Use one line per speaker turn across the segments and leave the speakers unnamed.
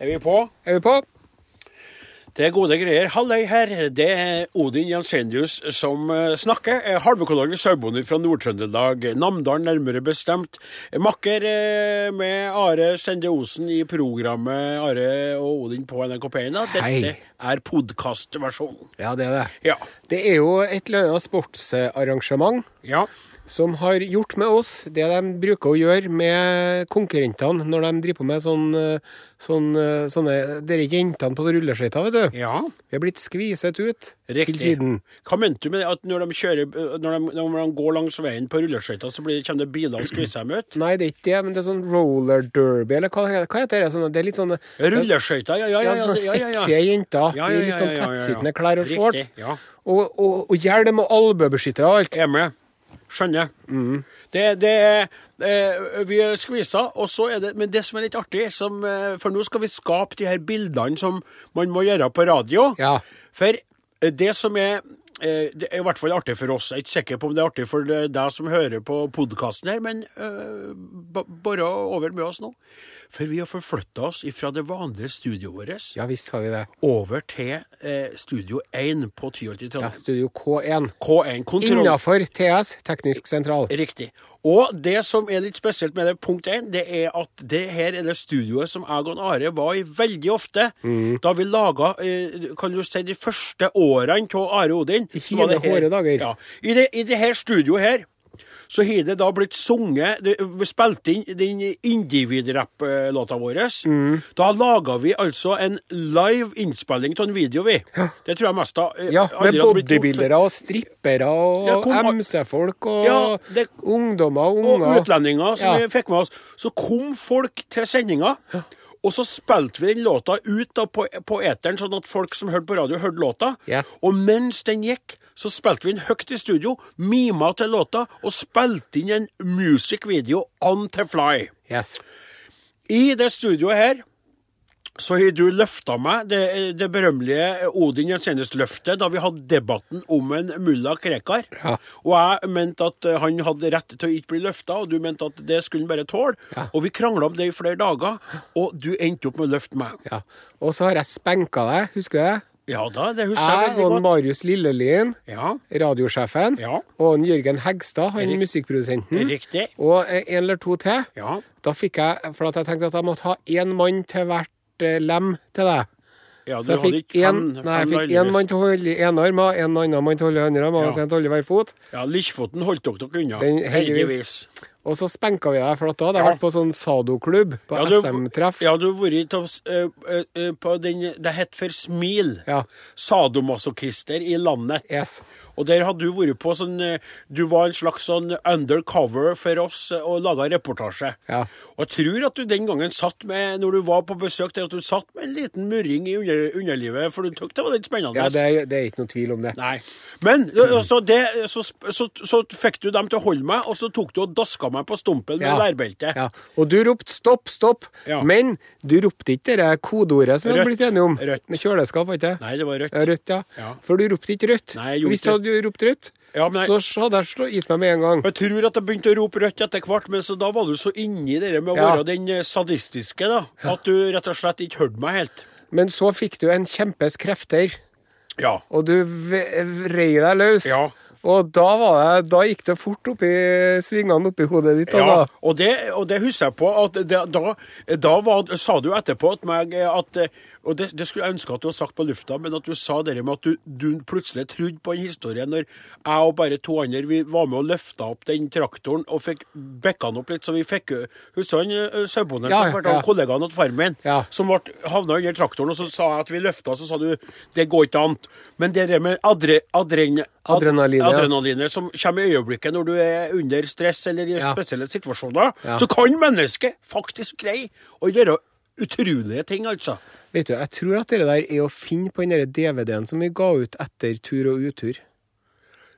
Er vi på?
Er vi på?
Det er gode greier. Halløy her. Det er Odin Jensenius som eh, snakker. Eh, Halvøkologisk sauebonde fra Nord-Trøndelag, Namdalen nærmere bestemt. Eh, Makker eh, med Are Sende Osen i programmet Are og Odin på NRK1. da. Dette
Hei.
er podkastversjonen.
Ja, det er det.
Ja.
Det er jo et eller annet sportsarrangement
ja.
som har gjort med oss det de bruker å gjøre med konkurrentene når de driver på med sånn, eh, sånn eh, sånne Dere jentene på rulleskøyter, vet du.
Ja.
Vi er blitt skviset ut
Riktig.
til siden.
Hva mente du med det? at når de, kjører, eh, når de, når de går langs veien på rulleskøyter, så blir det, kommer det biler og skviser dem ut?
Nei, det er ikke det, men det er sånn roller derby, eller hva, hva heter det? Sånn, det er litt sånn
Rulleskøyter, ja, ja, ja.
Ja,
ja,
sånne
ja, ja,
sexy
ja.
jenter
Ja, ja,
i litt
ja,
sånn
ja, ja, ja.
tettsittende klær og
Riktig,
shorts.
ja.
Og, og, og hjelm og albuebeskyttere og alt.
Er med. Skjønner.
Mhm.
Det, det er eh, Vi er skvisa, og så er det Men det som er litt artig, som, eh, for nå skal vi skape de her bildene som man må gjøre på radio.
Ja.
For eh, det som er eh, det er i hvert fall artig for oss. Jeg er ikke sikker på om det er artig for eh, deg som hører på podkasten her, men eh, ba- bare over med oss nå. For vi har forflytta oss fra det vanlige studioet vårt
Ja visst har vi det.
over til eh, Studio 1 på Tyholt i
Ja,
Trondheim.
Studio K1.
K1 kontroll.
Innafor TS, teknisk sentral.
Riktig. Og det som er litt spesielt med det, punkt én, det er at det her er det studioet som jeg og Are var i veldig ofte.
Mm.
Da vi laga eh, kan du si, de første årene av Are Odin.
I
så var det
hine
her-
hårde dager.
Ja. I det, i det her studioet her så har det da blitt sunget det, Vi spilte inn den individrapp-låta vår.
Mm.
Da laga vi altså en live innspilling av en video, vi. Det tror jeg mest av eh,
Ja,
aldri hadde blitt
med
gjort før.
bodybuildere og strippere
Ja,
og
kom-
MC-folk
Ja,
og
det-
ungdommer og
og
unger.
utlendinger som
Ja.
vi fikk med oss. Så kom folk til sendinga. Og så spilte vi den låta ut da på, på eteren, sånn at folk som hørte på radio, hørte låta.
Yes.
Og mens den gikk, så spilte vi den høyt i studio, mima til låta, og spilte inn en music-video on the fly.
Yes.
I det studioet her så har du løfta meg, det, det berømmelige Odin Jensenius-løftet, da vi hadde debatten om en mulla Krekar.
Ja.
Og jeg mente at eh, han hadde rett til å ikke bli løfta, og du mente at det skulle han bare tåle. Og vi krangla om det i flere dager, og du endte opp med å løfte meg.
Ja. Og så har jeg spenka deg, husker du det?
Ja da, det husker jeg
Jeg
veldig
og
godt.
Marius Lillelien,
Ja,
radiosjefen,
Ja.
og en Jørgen Hegstad, han
Rik-
musikkprodusenten,
riktig.
og eh, en eller to til.
Ja.
Da fikk jeg For at jeg tenkte at jeg måtte ha én mann til hvert eh, lem til deg.
ja
Så jeg fikk én nei, jeg fikk en
vanligvis.
mann til å holde i ene arm, og en annen mann til å holde i andre arm, og
Ja.
en til å holde i hver fot.
Ja, Likkfoten holdt dere unna.
Den-
Heldigvis.
heldigvis. Og så spenka vi deg, for at da hadde jeg
Ja.
vært på sånn Sado-klubb, på
du-
SM-treff.
Ja, du har vært til, eh, eh, eh, på den Det het for Smil.
Ja.
Sadomasochister i landet.
Yes.
Og der hadde du vært på sånn eh, Du var en slags sånn undercover for oss eh, og laga reportasje.
Ja.
Og jeg tror at du den gangen satt med, når du var på besøk der, at du satt med en liten murring i under, underlivet, for du syntes det var litt spennende.
Ja, det, er- det er ikke noe tvil om det.
Nei. Men ø, så, det, så, sp- så, så fikk du dem til å holde meg, og så tok du og daska meg på stumpen med lærbelte.
Ja. Og du ropte stopp, stopp,
Ja.
men du ropte ikke det kodeordet som vi hadde
Rødt.
blitt enige om.
Rødt.
Med kjøleskap, var ikke det?
Nei, det var rødt.
Ja, rødt, ja.
Ja.
For du ropte ikke rødt.
Nei, jeg gjorde
Hvis du
ikke
hadde ropt rødt,
Ja, men jeg-
så så hadde jeg slå, gitt meg med en gang.
Jeg tror at jeg begynte å rope rødt etter hvert, men så da var du så inni det der med å
Ja.
være den eh, sadistiske, da, at du rett og slett ikke hørte meg helt.
Men så fikk du en kjempes krefter,
Ja.
og du v- rei deg løs.
Ja.
Og da, var det, da gikk det fort oppi svingene oppi hodet ditt.
Ja,
Altså.
og det, og det husker jeg på at det, da, da var, sa du etterpå at meg eh, at eh, Og det, det skulle jeg ønske at du hadde sagt på lufta, men at du sa det der med at du, du plutselig trodde på en historie når jeg og bare to andre vi var med og løfta opp den traktoren og fikk bekka den opp litt, så vi fikk jo- Husker han eh, sauebonden
Ja,
som fortalte
ja.
om kollegaen til faren min,
Ja.
som ble, havna under traktoren, og så sa jeg at vi løfta, så sa du det går ikke an. Men det der med adre, adren, ad-
Adrenalin, ja.
adrenalinet som kommer i øyeblikket når du er under stress eller i
Ja.
spesielle situasjoner,
Ja.
så kan mennesket faktisk greie å gjøre utrolige ting, altså.
Vet du, Jeg tror at det der er å finne på den der DVD-en som vi ga ut etter Tur og utur.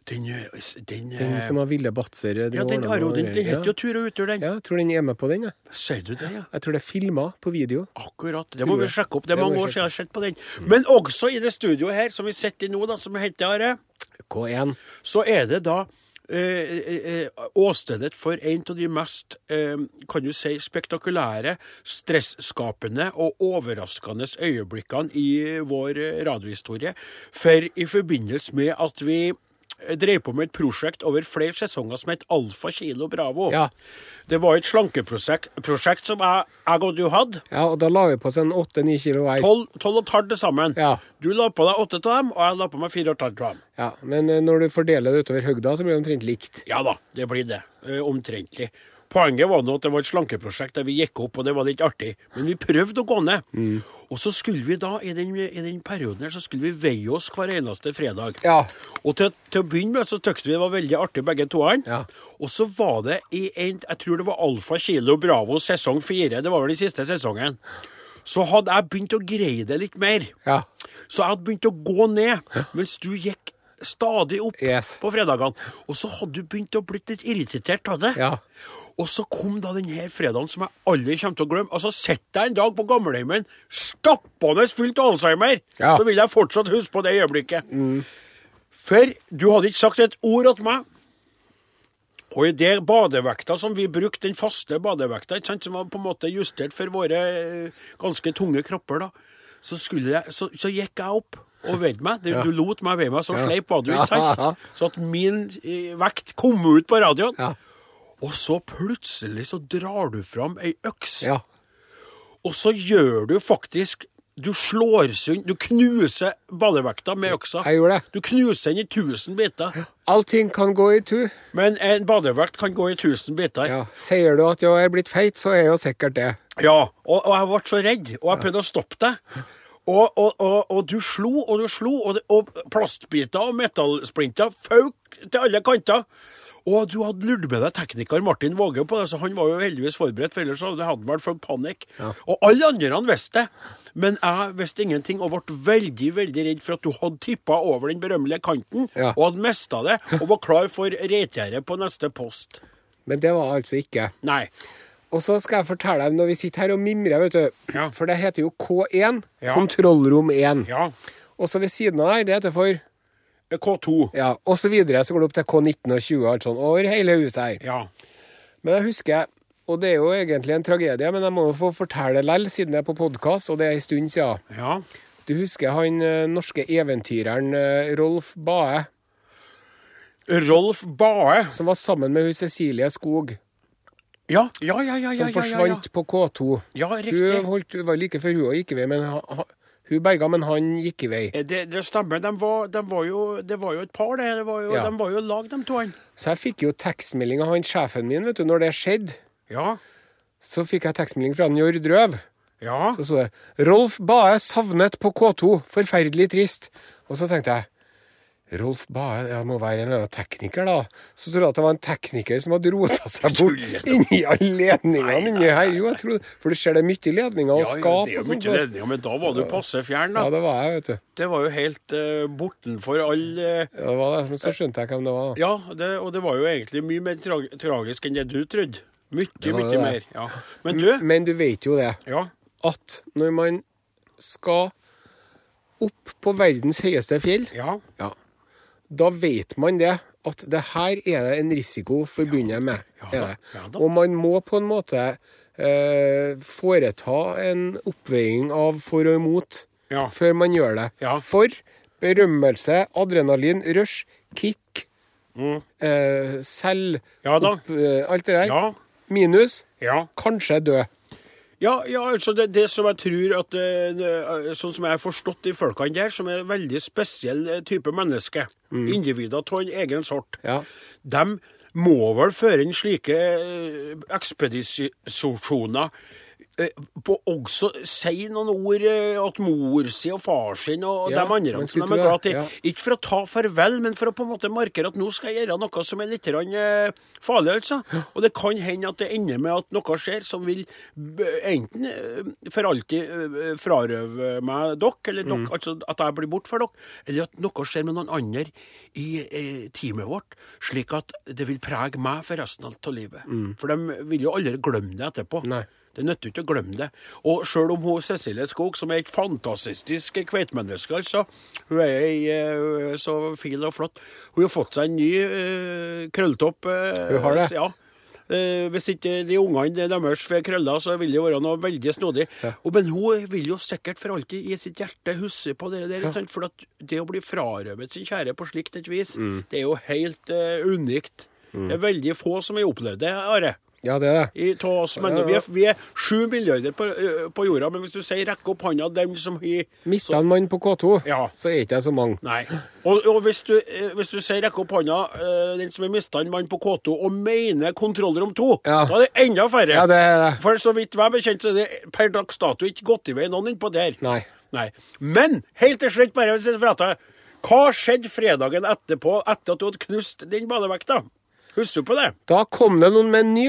Den, eh, s- den,
Den
eh,
som har Ville Batzer eh,
ja, den
ordnet
har jo
noe
den, den
greier.
heter jo Tur og utur, den.
Ja, jeg tror den er med på den. Jeg,
Sier du det, ja?
jeg tror det er filma på video.
Akkurat. Det må vi
jeg.
sjekke opp. Det er
Det må
mange
vi
år siden jeg har sett på den. Men også i det studioet her, som vi sitter i nå, da, som heter Are,
K1.
så er det da eh, eh, åstedet for en av de mest eh, kan du si, spektakulære, stressskapende og overraskende øyeblikkene i vår eh, radiohistorie. For i forbindelse med at vi drev på med et prosjekt over flere sesonger som het Alfa Kilo Bravo.
Ja.
Det var et slankeprosjekt prosjekt som jeg, jeg og du hadde.
Ja, og da la vi på oss en åtte-ni kilo hver.
Tolv tolv og et halvt til sammen.
Ja.
Du la på deg åtte av dem, og jeg la på meg fire og et halvt av dem.
Ja, men eh, når du fordeler det utover høgda, så blir det omtrent likt.
Ja da, det blir det. Eh, Omtrentlig. Poenget var nå at det var et slankeprosjekt der vi gikk opp, og det var litt artig. Men vi prøvde å gå ned.
Mm.
Og så skulle vi da, i den, i den perioden her, så skulle vi veie oss hver eneste fredag.
Ja.
Og til, til å begynne med så tykte vi det var veldig artig, begge toene.
Ja.
Og så var det i en Jeg tror det var Alfa Kilo Bravo sesong fire. Det var vel den siste sesongen. Så hadde jeg begynt å greie det litt mer.
Ja.
Så jeg hadde begynt å gå ned, mens du gikk stadig opp
Yes.
på fredagene. Og så hadde du begynt å bli litt irritert av det.
Ja.
Og så kom da denne fredagen som jeg aldri kommer til å glemme. Og så sitter jeg en dag på gamlehjemmet stappende fullt av alzheimer.
Ja.
Så vil jeg fortsatt huske på det øyeblikket. For du hadde ikke sagt et ord til meg. Og i det badevekta som vi brukte, den faste badevekta, ikke sant, som var på en måte justert for våre eh, ganske tunge kropper, da, så, skulle jeg, så, så gikk jeg opp og veide meg. Du, du lot meg veie meg, så sleip var du, ikke
Ja.
sant? Så at min eh, vekt kom ut på radioen.
Ja.
Og så plutselig så drar du fram ei øks,
Ja.
og så gjør du faktisk Du slår sund, du knuser badevekta med øksa.
Jeg gjorde det.
Du knuser den i tusen biter.
Allting kan gå i tu.
Men en badevekt kan gå i tusen biter.
Ja. Sier du at jeg er blitt feit, så er jeg jo sikkert det.
Ja, og, og jeg ble så redd, og jeg prøvde å stoppe deg. Og, og, og, og du slo og du slo, og, det, og plastbiter og metallsplinter fauk til alle kanter. Og du hadde lurt med deg tekniker Martin Våge på det, så han var jo heldigvis forberedt, for ellers hadde han vært for panikk. Og alle andre han visste det, men jeg visste ingenting og ble veldig, veldig redd for at du hadde tippa over den berømmelige kanten,
Ja.
og hadde mista det, og var klar for reitgjerdet på neste post.
Men det var altså ikke.
Nei.
Og så skal jeg fortelle deg, når vi sitter her og mimrer, vet du
Ja.
For det heter jo K1.
Ja.
Kontrollrom 1.
Ja.
Og så ved siden av der, det heter for
K2.
Ja, og så videre. Så går det opp til K19 og 20 og alt sånn. Over hele huset her.
Ja.
Men jeg husker, og det er jo egentlig en tragedie, men jeg må jo få fortelle det lell, siden det er på podkast, og det er en stund siden.
Ja.
Du husker han eh, norske eventyreren eh, Rolf Bae,
Rolf Bae.
som var sammen med hun Cecilie Skog,
Ja, ja, ja. ja, ja,
som
ja, ja, ja.
forsvant på K2.
ja
Hun
riktig.
holdt, hun var like før hun også gikk i vei, men ha, ha, hun berga, men han gikk i vei.
Eh, Det, det stemmer. De var, de var jo, det var jo et par, det. det var jo,
Ja.
De var jo lag, de to. han.
Så jeg fikk jo tekstmelding av han sjefen min, vet du, når det skjedde.
Ja.
Så fikk jeg tekstmelding fra han Njord Røv.
Ja.
Så sto det 'Rolf Bae savnet på K2. Forferdelig trist'. Og så tenkte jeg Rolf Bae ja, det må være en eller annen tekniker, da. Så trodde jeg at det var en tekniker som hadde rota seg bort inni alle
Nei,
ledningene
nei,
inni her. Jo, jeg trodde, for du ser det er mye ledninger og
Ja, ja, det
skap
er
og
jo
sånt.
mye
så-
ledninger, men da var du passe fjern,
Ja,
da.
det var jeg, vet du.
Det var jo helt eh, bortenfor all eh,
Ja, det var det. Men så skjønte jeg hvem det var. da.
Ja, det, og det var jo egentlig mye mer tra tragisk enn det du trodde. Mye,
var
mye
det.
mer. Ja. Men du
Men du vet jo det,
Ja.
at når man skal opp på verdens høyeste fjell
Ja.
Ja. Da vet man det, at det her er det en risiko forbundet med.
da,
er det.
ja da.
Og man må på en måte eh, foreta en oppveiing av for og imot
Ja.
før man gjør det.
Ja.
For berømmelse, adrenalin, rush, kick, eh, selv
Mm. Ja da.
opp, eh, Alt det der.
Ja.
Minus
ja.
kanskje dø.
Ja, ja altså det, det som jeg tror at eh, det- Sånn som jeg har forstått de folkene der, som er en veldig spesiell eh, type menneske, individer av en egen sort,
Mm. Ja.
de må vel føre inn slike eh, ekspedisjoner eh, på også si noen ord eh, at mor si og far sin og
Ja,
de andre
man
som
skulle
de er
tro
glad
det,
i.
ja.
Ikke for å ta farvel, men for å på en måte markere at nå skal jeg gjøre noe som er litt grann, eh, farlig. altså. Og det kan hende at det ender med at noe skjer som vil b enten eh, for alltid eh, frarøve meg dere, eller dere, altså at jeg blir borte for dere, eller at noe skjer med noen andre i eh, teamet vårt, slik at det vil prege meg for resten av livet. For de vil jo aldri glemme det etterpå.
Nei.
Det nytter ikke å glemme det. Og sjøl om hun Cecilie Skog, som er et fantastisk kveitemenneske, altså, hun er ei, eh, så fin og flott, hun har fått seg en ny eh, krølltopp. eh,
Hun har det?
Ja. Eh, hvis ikke de ungene deres får krøller, så vil det være noe veldig snodig. Og, men hun vil jo sikkert for alltid i sitt hjerte huske på det der. ikke sant? For at det å bli frarøvet sin kjære på slikt et vis,
Mm.
det er jo helt eh, unikt. Det er veldig få som har opplevd det, Are.
Ja, det er det.
I, ta oss, men
Ja, ja.
Vi, er, vi er sju milliarder på, ø, på jorda, men hvis du sier rekk opp hånda dem som har
Mista en mann på K2,
Ja.
så er ikke jeg så mange.
Nei. Og, og hvis, du, eh, hvis du sier rekk opp hånda eh, den som har mista en mann på K2 og mener kontroller om to,
Ja.
da er det enda færre.
Ja, det er det.
For så vidt jeg er bekjent, så er det per dags dato ikke gått i vei noen innpå der.
Nei.
Nei. Men helt til slutt, bare hvis jeg prater, hva skjedde fredagen etterpå, etter at du hadde knust den badevekta? Husker du på det?
Da kom det noen med en ny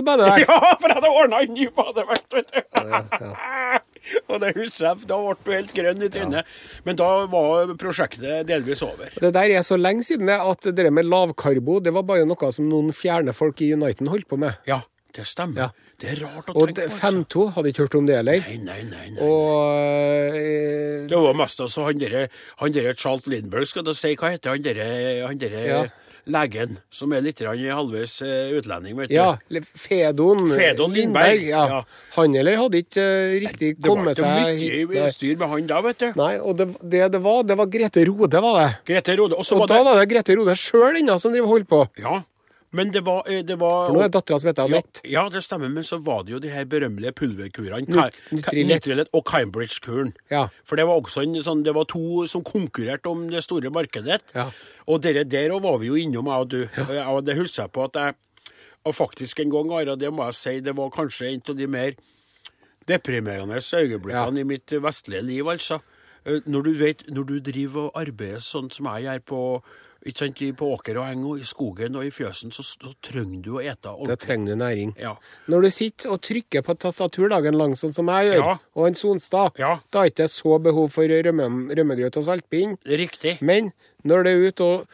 badevekt.
Ja, for jeg hadde ordna en ny badevekt, vet du. Og det husker jeg, da ble du helt grønn i trynet. Men da var prosjektet delvis over.
Det der er så lenge siden det at det der med lavkarbo det var bare noe som noen fjerne folk i Uniten holdt på med.
Ja, det stemmer.
Ja.
Det er rart å
Og
tenke på. altså.
5-2 hadde ikke hørt om det heller.
Nei, nei, nei. nei.
Og eh,
Det var mest altså han derre han derre Charles Lindberg, skal du si, hva heter han derre han derre
Ja.
legen som er litt grann halvveis eh, utlending, vet du.
ja, eller Fedon,
Fedon Lindberg,
ja.
ja.
Han eller hadde ikke eh, riktig
Det var
kommet
ikke
seg
mye
hit. Nei.
styr med han da, vet du.
Nei, og det det, det var, det var Grete Rode, var det.
Grete Rode. Og så
Og
var
da
det
var det Grete Rode sjøl ennå som driver og holdt på.
Ja. Men det var, eh, det var
For nå er dattera som heter
ja,
Anette.
ja, det stemmer, men så var det jo de her berømmelige pulverkurene. Ka-
Nit-
Ka-
Nitrilett.
Nitrilett og Cambridge-kuren.
Ja.
For det var også en sånn, det var to som konkurrerte om det store markedet.
Ja.
Og dere der òg var vi jo innom, jeg og du. Ja. Og det husker jeg på at jeg og faktisk en gang, Ara, det må jeg si, det var kanskje en av de mer deprimerende øyeblikkene i mitt vestlige liv, altså. Eh, Når du, vet, når du driver og arbeider sånn som jeg gjør på, ikke sant, i- på åker og eng og i skogen og i fjøsen, så, så trenger du å ete
Da
ordentlig.
trenger du næring.
Ja.
Når du sitter og trykker på et tastatur dagen lang, sånn som jeg gjør,
Ja.
og en Sonstad,
Ja.
da er det ikke så behov for rømme, rømmegrøt og saltbind.
Riktig.
Men når du er ute og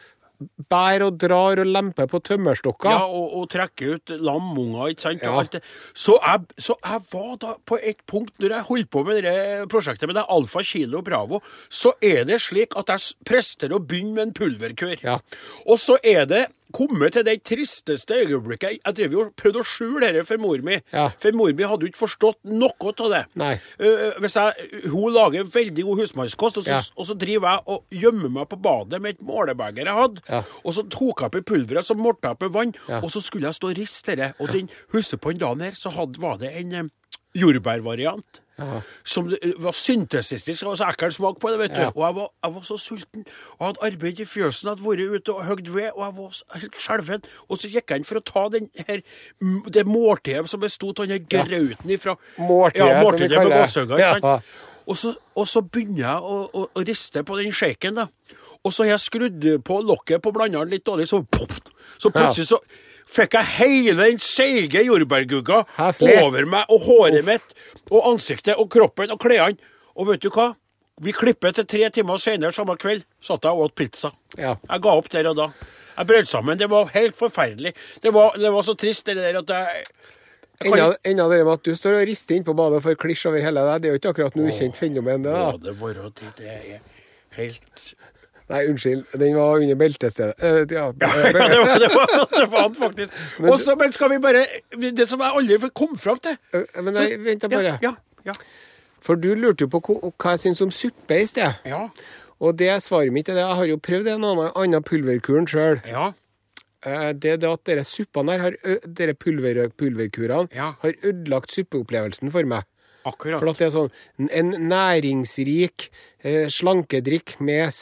bærer og drar og lemper på tømmerstokker
Ja, og, og trekke ut lamunger, ikke sant.
Ja.
Og alt det. Så, jeg, så jeg var da på et punkt, når jeg holdt på med det prosjektet med det Alfa Kilo Bravo, så er det slik at jeg s- prester å begynne med en pulverkur.
Ja.
Og så er det kommet til det tristeste øyeblikket. Jeg drev jo og prøvde å skjule dette for mor mi,
Ja.
for mor mi hadde jo ikke forstått noe av det.
Nei.
Eh, hvis jeg, hun lager veldig god husmannskost, og så,
Ja.
og så driver jeg og gjemmer meg på badet med et målebeger jeg hadde.
Ja.
Og så tok jeg opp i pulveret, så morta jeg opp i vann,
Ja.
og så skulle jeg stå og riste det. Og den, husker på den dagen her, så hadde, var det en eh, jordbærvariant.
Ja.
Som det, eh, var syntesistisk, og så ekkel smak på det, vet du.
Ja.
Og jeg var, jeg var så sulten, og jeg hadde arbeidet i fjøsen, hadde vært ute og høgd ved, og jeg var så helt skjelven. Og så gikk jeg inn for å ta den her, m- det måltidet som bestod av den her grauten ifra
Måltidet,
ja,
som vi
måltidet
kaller
med
det.
gåsehugger, ikke sant?
Ja.
Og så, og så begynner jeg å, å, å riste på den shaken, da. Og så har jeg skrudd på lokket på blanderen litt dårlig, så, pop, så plutselig så fikk jeg hele den seige jordbærgugga
Heslig.
over meg, og håret mitt, og ansiktet, og kroppen, og klærne. Og vet du hva? Vi klipper til tre timer senere samme kveld, satt jeg og åt pizza.
Ja.
Jeg ga opp der og da. Jeg brøt sammen. Det var helt forferdelig. Det var, det var så trist, det der, at jeg jeg kan-
Enda, enda det med at du står og rister inn på badet og får klisj over hele deg, det er jo ikke akkurat noe ukjent fenomen, det.
Må
da.
det være til det er helt
Nei, unnskyld, den var under beltestedet. Eh, ja.
Ja, det var, det var, det var han faktisk. Og så- men skal vi bare Det som jeg aldri kom fram til
Eh, Men nei, vent da
Ja,
bare.
ja, ja,
For du lurte jo på ko- hva jeg syns om suppe i sted.
ja,
Og det svaret mitt er det. Jeg har jo prøvd en annen, annen pulverkuren sjøl.
ja.
Det er det at dere suppene her, har ø- dere pulver, pulverkurene,
Ja.
har ødelagt suppeopplevelsen for meg. For
Akkurat.
at det er sånn n- en næringsrik eh, slankedrikk med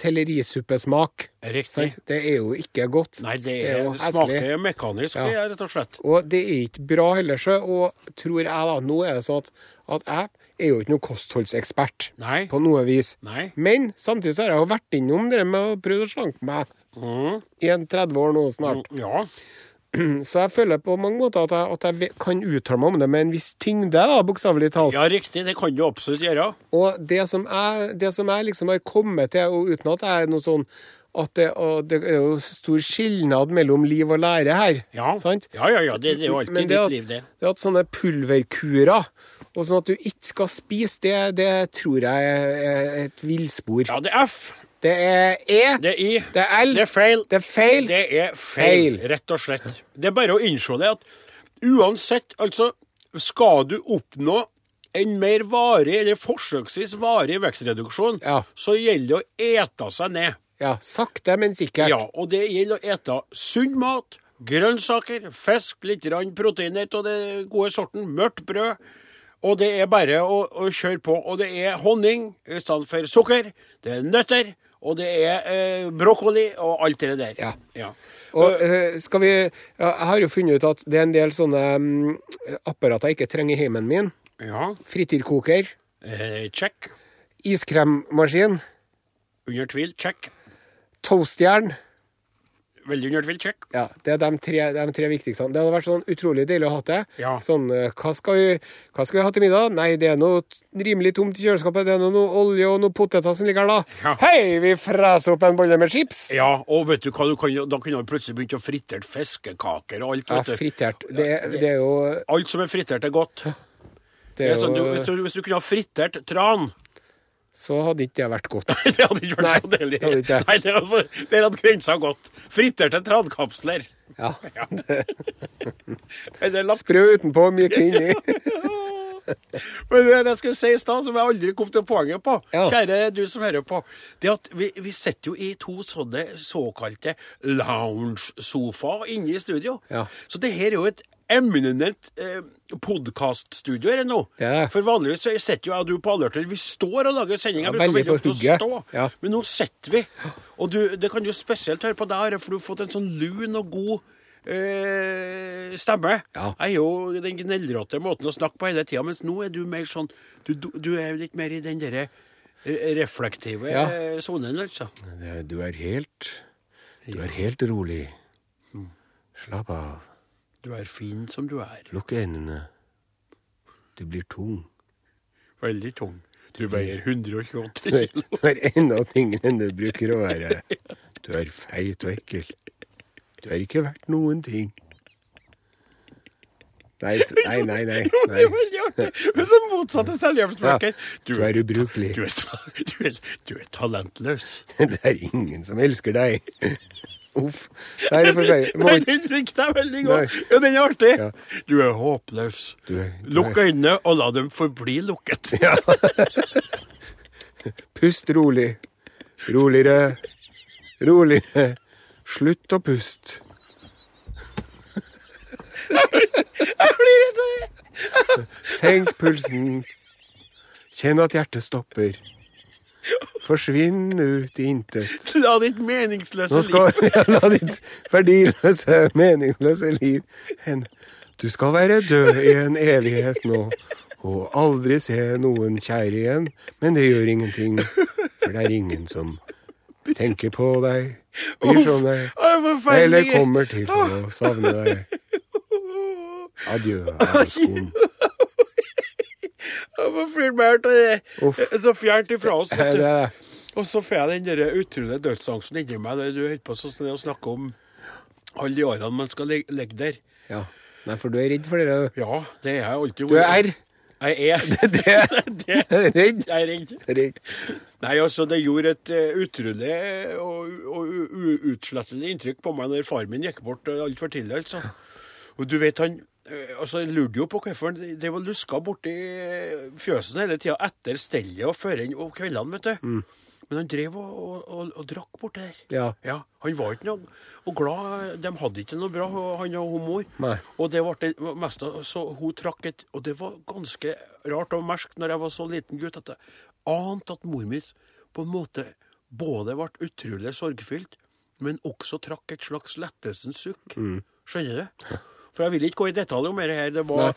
sellerisuppesmak.
Riktig.
Sant? Det er jo ikke godt.
Nei, det, er, det
heslig.
smaker mekanisk,
Ja.
det er rett og slett.
Og det er ikke bra heller, så. Og tror jeg, da. Nå er det sånn at, at jeg er jo ikke noen kostholdsekspert
Nei.
på noe vis.
Nei.
Men samtidig så har jeg jo vært innom det med å prøve å slanke meg
Mm.
i en 30 år nå snart.
Ja.
Så jeg føler på mange måter at jeg, at jeg ve- kan uttale meg om det med en viss tyngde, da, bokstavelig talt.
ja, riktig. Det kan du absolutt gjøre.
Og det som, jeg, det som jeg liksom har kommet til, og uten at jeg er noe sånn at det, og det er jo stor skilnad mellom liv og lære her.
Ja,
sant?
ja, ja, ja. Det, det er jo alltid
Men det
ditt
at,
liv, det.
det at sånne pulverkurer Og sånn at du ikke skal spise, det, det tror jeg er et villspor.
Ja, det er F,
Det er E,
det er I,
det er L,
det er feil.
det er feil.
Det er feil,
Feil.
rett og slett. Det er bare å innse det at uansett, altså Skal du oppnå en mer varig, eller forsøksvis varig vektreduksjon,
Ja.
så gjelder det å ete seg ned.
Ja, sakte, men sikkert.
Ja, og det gjelder å ete sunn mat, grønnsaker, fisk, litt grann proteiner av den gode sorten, mørkt brød. Og det er bare å, å kjøre på. Og det er honning i stedet for sukker. Det er nøtter, og det er eh, brokkoli og alt det der.
Ja.
ja.
Og eh, skal vi ja, Jeg har jo funnet ut at det er en del sånne mm, apparater jeg ikke trenger i heimen min.
ja.
Frityrkoker,
Eh, check.
iskremmaskin,
Under tvil, check.
toastjern.
Veldig under tvil, check.
Ja, Det er de tre, de tre viktigste. Det hadde vært sånn utrolig deilig å ha det.
Ja.
Sånn, eh, hva skal, vi, hva skal vi ha til middag? Nei, det er noe t- rimelig tomt i kjøleskapet. Det er noe, noe olje og noe poteter som ligger her, da.
Ja.
Hei, vi freser opp en bolle med chips!
Ja, og vet du hva, du kan, jo- da kunne du plutselig begynt å fritere fiskekaker og alt.
Ja,
vet du.
fritert. Det, det er jo
Alt som er fritert, er godt.
det
Det
er
er sånn, du, hvis,
jo,
du, hvis du kunne ha fritert tran
Så hadde ikke det vært godt.
Det hadde ikke vært
Nei,
så deilig.
det hadde ikke jeg.
Nei, det hadde, det hadde grensa godt. Friterte trankapsler.
Ja.
Ja. Eller laks.
Sprø utenpå, myk inni.
Men det jeg skulle si i stad, som jeg aldri kom til poenget på,
Ja.
kjære du som hører på, det at vi, vi sitter jo i to sånne såkalte lounge-sofaer inne i studio.
Ja.
Så det her er jo et eminent eh, podkaststudio her nå.
Det er det.
For vanligvis så sitter jo jeg og du på Alerter. Vi står og lager sending. Jeg
Ja,
bruker
veldig
veldig
på
ofte å
hugget.
stå.
Ja.
Men nå sitter vi. Og du, det kan du spesielt høre på deg, Are, for du har fått en sånn lun og god eh, stemme.
Ja.
Jeg er jo den gneldråte måten å snakke på hele tida, mens nå er du mer sånn Du, du, du er litt mer i den derre eh, reflektive
Ja.
eh, sonen, altså.
Det- Eh, Du er helt Du er helt rolig. Mm. Slapp av.
Du er fin som du er.
Lukk øynene. Du blir tung.
Veldig tung. Du veier 128
Du er, du er enda tyngre enn du bruker å være. Du er feit og ekkel. Du er ikke verdt noen ting. Nei, t- nei, nei. nei, nei.
Det er sånn veldig artig. Men så motsatte selvhjelpsbøker.
Du er ubrukelig.
du, er ta- du, er, du er talentløs.
Det er ingen som elsker deg. Uff. Nei, det er forferdelig. Må
Nei,
ikke-
den likte jeg veldig
Nei.
godt. Ja, den er artig.
Ja.
Du er håpløs.
Du er- du
Lukk øynene og la dem forbli lukket.
Pust rolig. Roligere. Roligere. Slutt å puste.
Jeg blir redd av det.
Senk pulsen. Kjenn at hjertet stopper. Forsvinn ut i intet.
La ditt meningsløse
Nå skal ja, la ditt verdiløse, meningsløse liv hende. Du skal være død i en evighet nå, og aldri se noen kjære igjen. Men det gjør ingenting, for det er ingen som tenker på deg, bryr seg om deg,
Å, forferdelig.
sånn, eller kommer til sånn. å savne deg. Adjø, Askon.
Jeg må flytte meg ut av det.
Uff.
Så fjernt ifra oss.
Det
Vet
er
du.
det.
Og så får jeg den der utrolige dødsangsten inni meg. det Du holder på sånn som det å snakke om alle de årene man skal lig- ligge der.
Ja. Nei, for du er redd for det. du.
Ja, det er jeg alltid.
Du er R.
Jeg er.
Det er
det.
redd.
Jeg er redd.
Redd.
Nei, altså, det gjorde et eh, utrolig og, og u- u- uutslettelig inntrykk på meg når far min gikk bort eh, altfor tidlig, altså. Og du vet, han eh, altså, jeg lurte jo på hvorfor han det var luska borti eh, fjøsen hele tida etter stellet og før inn om kveldene, vet du. Men han drev og, og, og, og drakk borti der.
Ja.
Ja, Han var ikke noe og glad De hadde ikke noe bra, han og hun mor.
Nei.
Og det ble det meste, så hun trakk et Og det var ganske rart å merke når jeg var så liten gutt, at jeg ante at mor mi på en måte både ble utrolig sorgfylt, men også trakk et slags lettelsens sukk. Skjønner du? For jeg vil ikke gå i detalj om det her. Det var,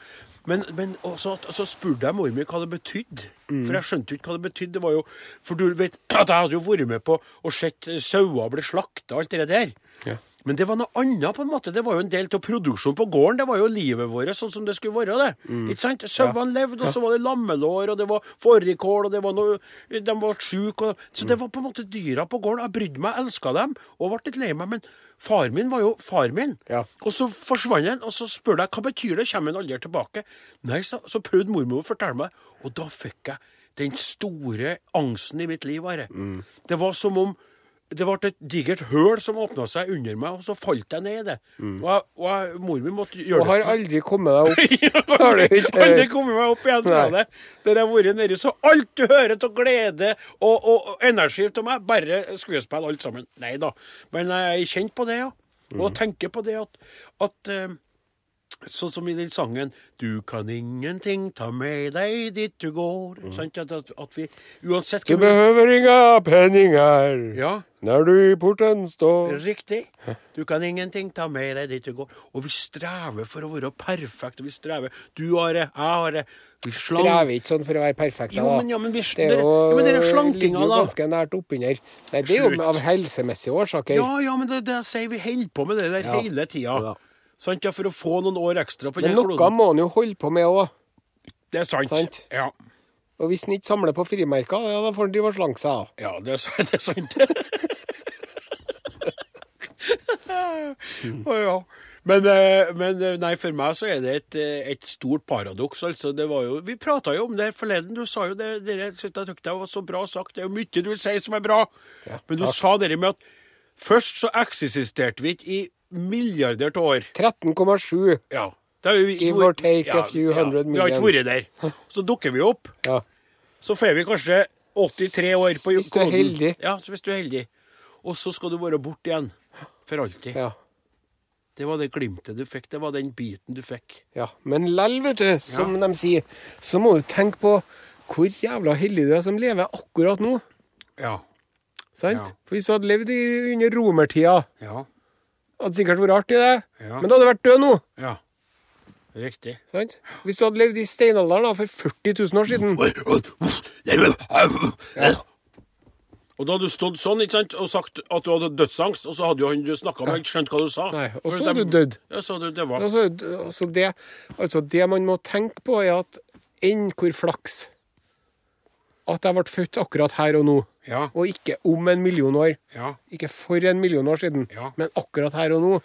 men men også, at- så spurte jeg mor mi hva det betydde. For jeg skjønte jo ikke hva det betydde. Det var jo, for du vet at jeg hadde jo vært med på og sett sauer bli slakta og alt det der.
Ja.
Men det var noe annet, på en måte. Det var jo en del av produksjonen på gården. Det var jo livet vårt sånn som det skulle være. det.
Mm.
Ikke sant? Sauene levde, og så var det lammelår, og det var fårikål, og det var noe, de var syke. Og... Så det
Mm.
var på en måte dyra på gården. Jeg brydde meg, elska dem, og ble litt lei meg. Men far min var jo far min.
Ja.
Og så forsvant han, og så spør jeg hva betyr det, kommer han aldri tilbake? Nei, så, så prøvde mormor å fortelle meg, og da fikk jeg den store angsten i mitt liv. Are. Det var som om det ble et digert høl som åpna seg under meg, og så falt jeg ned i det. Og, jeg, og jeg, mor min måtte
Mm. Og
gjøre
har aldri kommet deg opp.
det.
har du ikke-
Aldri kommet meg opp igjen fra
Nei.
det. Der jeg har vært nedi. Så alt du hører av glede og, og, og energi til meg, bare skuespill, alt sammen. Nei da. Men jeg er kjent på det, ja.
Mm.
Og tenker på det at, at eh, Sånn som i den sangen 'Du kan ingenting ta med deg dit du går'.
Mm.
Sant? At, at, at vi uansett
Du
hvem vi-
behøver inga penninger
Ja.
når du i porten står.
Riktig. Du kan ingenting ta med deg dit du går. Og vi strever for å være perfekt. Vi strever. Du har det, jeg har det. Vi slank...
Strever ikke sånn for å være perfekt, da.
Jo, men, ja, men, vi,
Det er jo,
ja, men dere slankinga,
ligger jo
da.
ganske nært oppunder. Nei, det er jo
Slutt.
av helsemessige årsaker.
Ja, ja, men det, det jeg sier vi holder på med det der
Ja.
hele tida.
Ja.
Sant, ja, For å få noen år ekstra på den
men noe
kloden.
må en jo holde på med òg.
Det er sant.
Sant.
Ja.
Og hvis en ikke samler på frimerker, ja, da får en drive og slanke seg. da.
ja, det er, sant- det er sant.
Mm.
Å ja. Men, eh, men eh, nei, for meg så er det et, eh, et stort paradoks. altså. Det var jo, vi prata jo om det her forleden. Du sa jo det dere syntes jeg tykte det var så bra sagt. Det er jo mye du sier som er bra. men du sa det med at først så eksisterte vi ikke i milliarder av år.
13,7.
Ja. Da har vi ikke
Give
vært-
or take a few hundred
Vi har ikke vært der. Så dukker vi opp.
Ja.
Så får vi kanskje 83 år på
Hvis du er
kloden.
heldig.
Ja, så hvis du er heldig. Og så skal du være borte igjen. For alltid.
ja.
Det var det glimtet du fikk. Det var den biten du fikk.
Ja, men lell, vet du, som de sier, så må du tenke på hvor jævla heldig du er som lever akkurat nå.
Ja.
Sant?
Ja.
For hvis du hadde levd i, under romertida,
Ja.
hadde sikkert vært artig, det.
Ja.
Men da hadde du vært død nå.
ja. Riktig.
Sant? Hvis du hadde levd i steinalderen da, for 40 000 år siden
Og da hadde du stått sånn ikke sant, og sagt at du hadde dødsangst, og så hadde jo han du snakka med, ikke skjønt hva du sa.
Nei, og
For
så
dem-
hadde du dødd.
Ja, så hadde du dødd.
altså, altså, det, altså, det man må tenke på, er at enn hvor flaks at jeg ble født akkurat her og nå,
Ja.
og ikke om en million år.
Ja.
Ikke for en million år siden,
Ja.
men akkurat her og nå.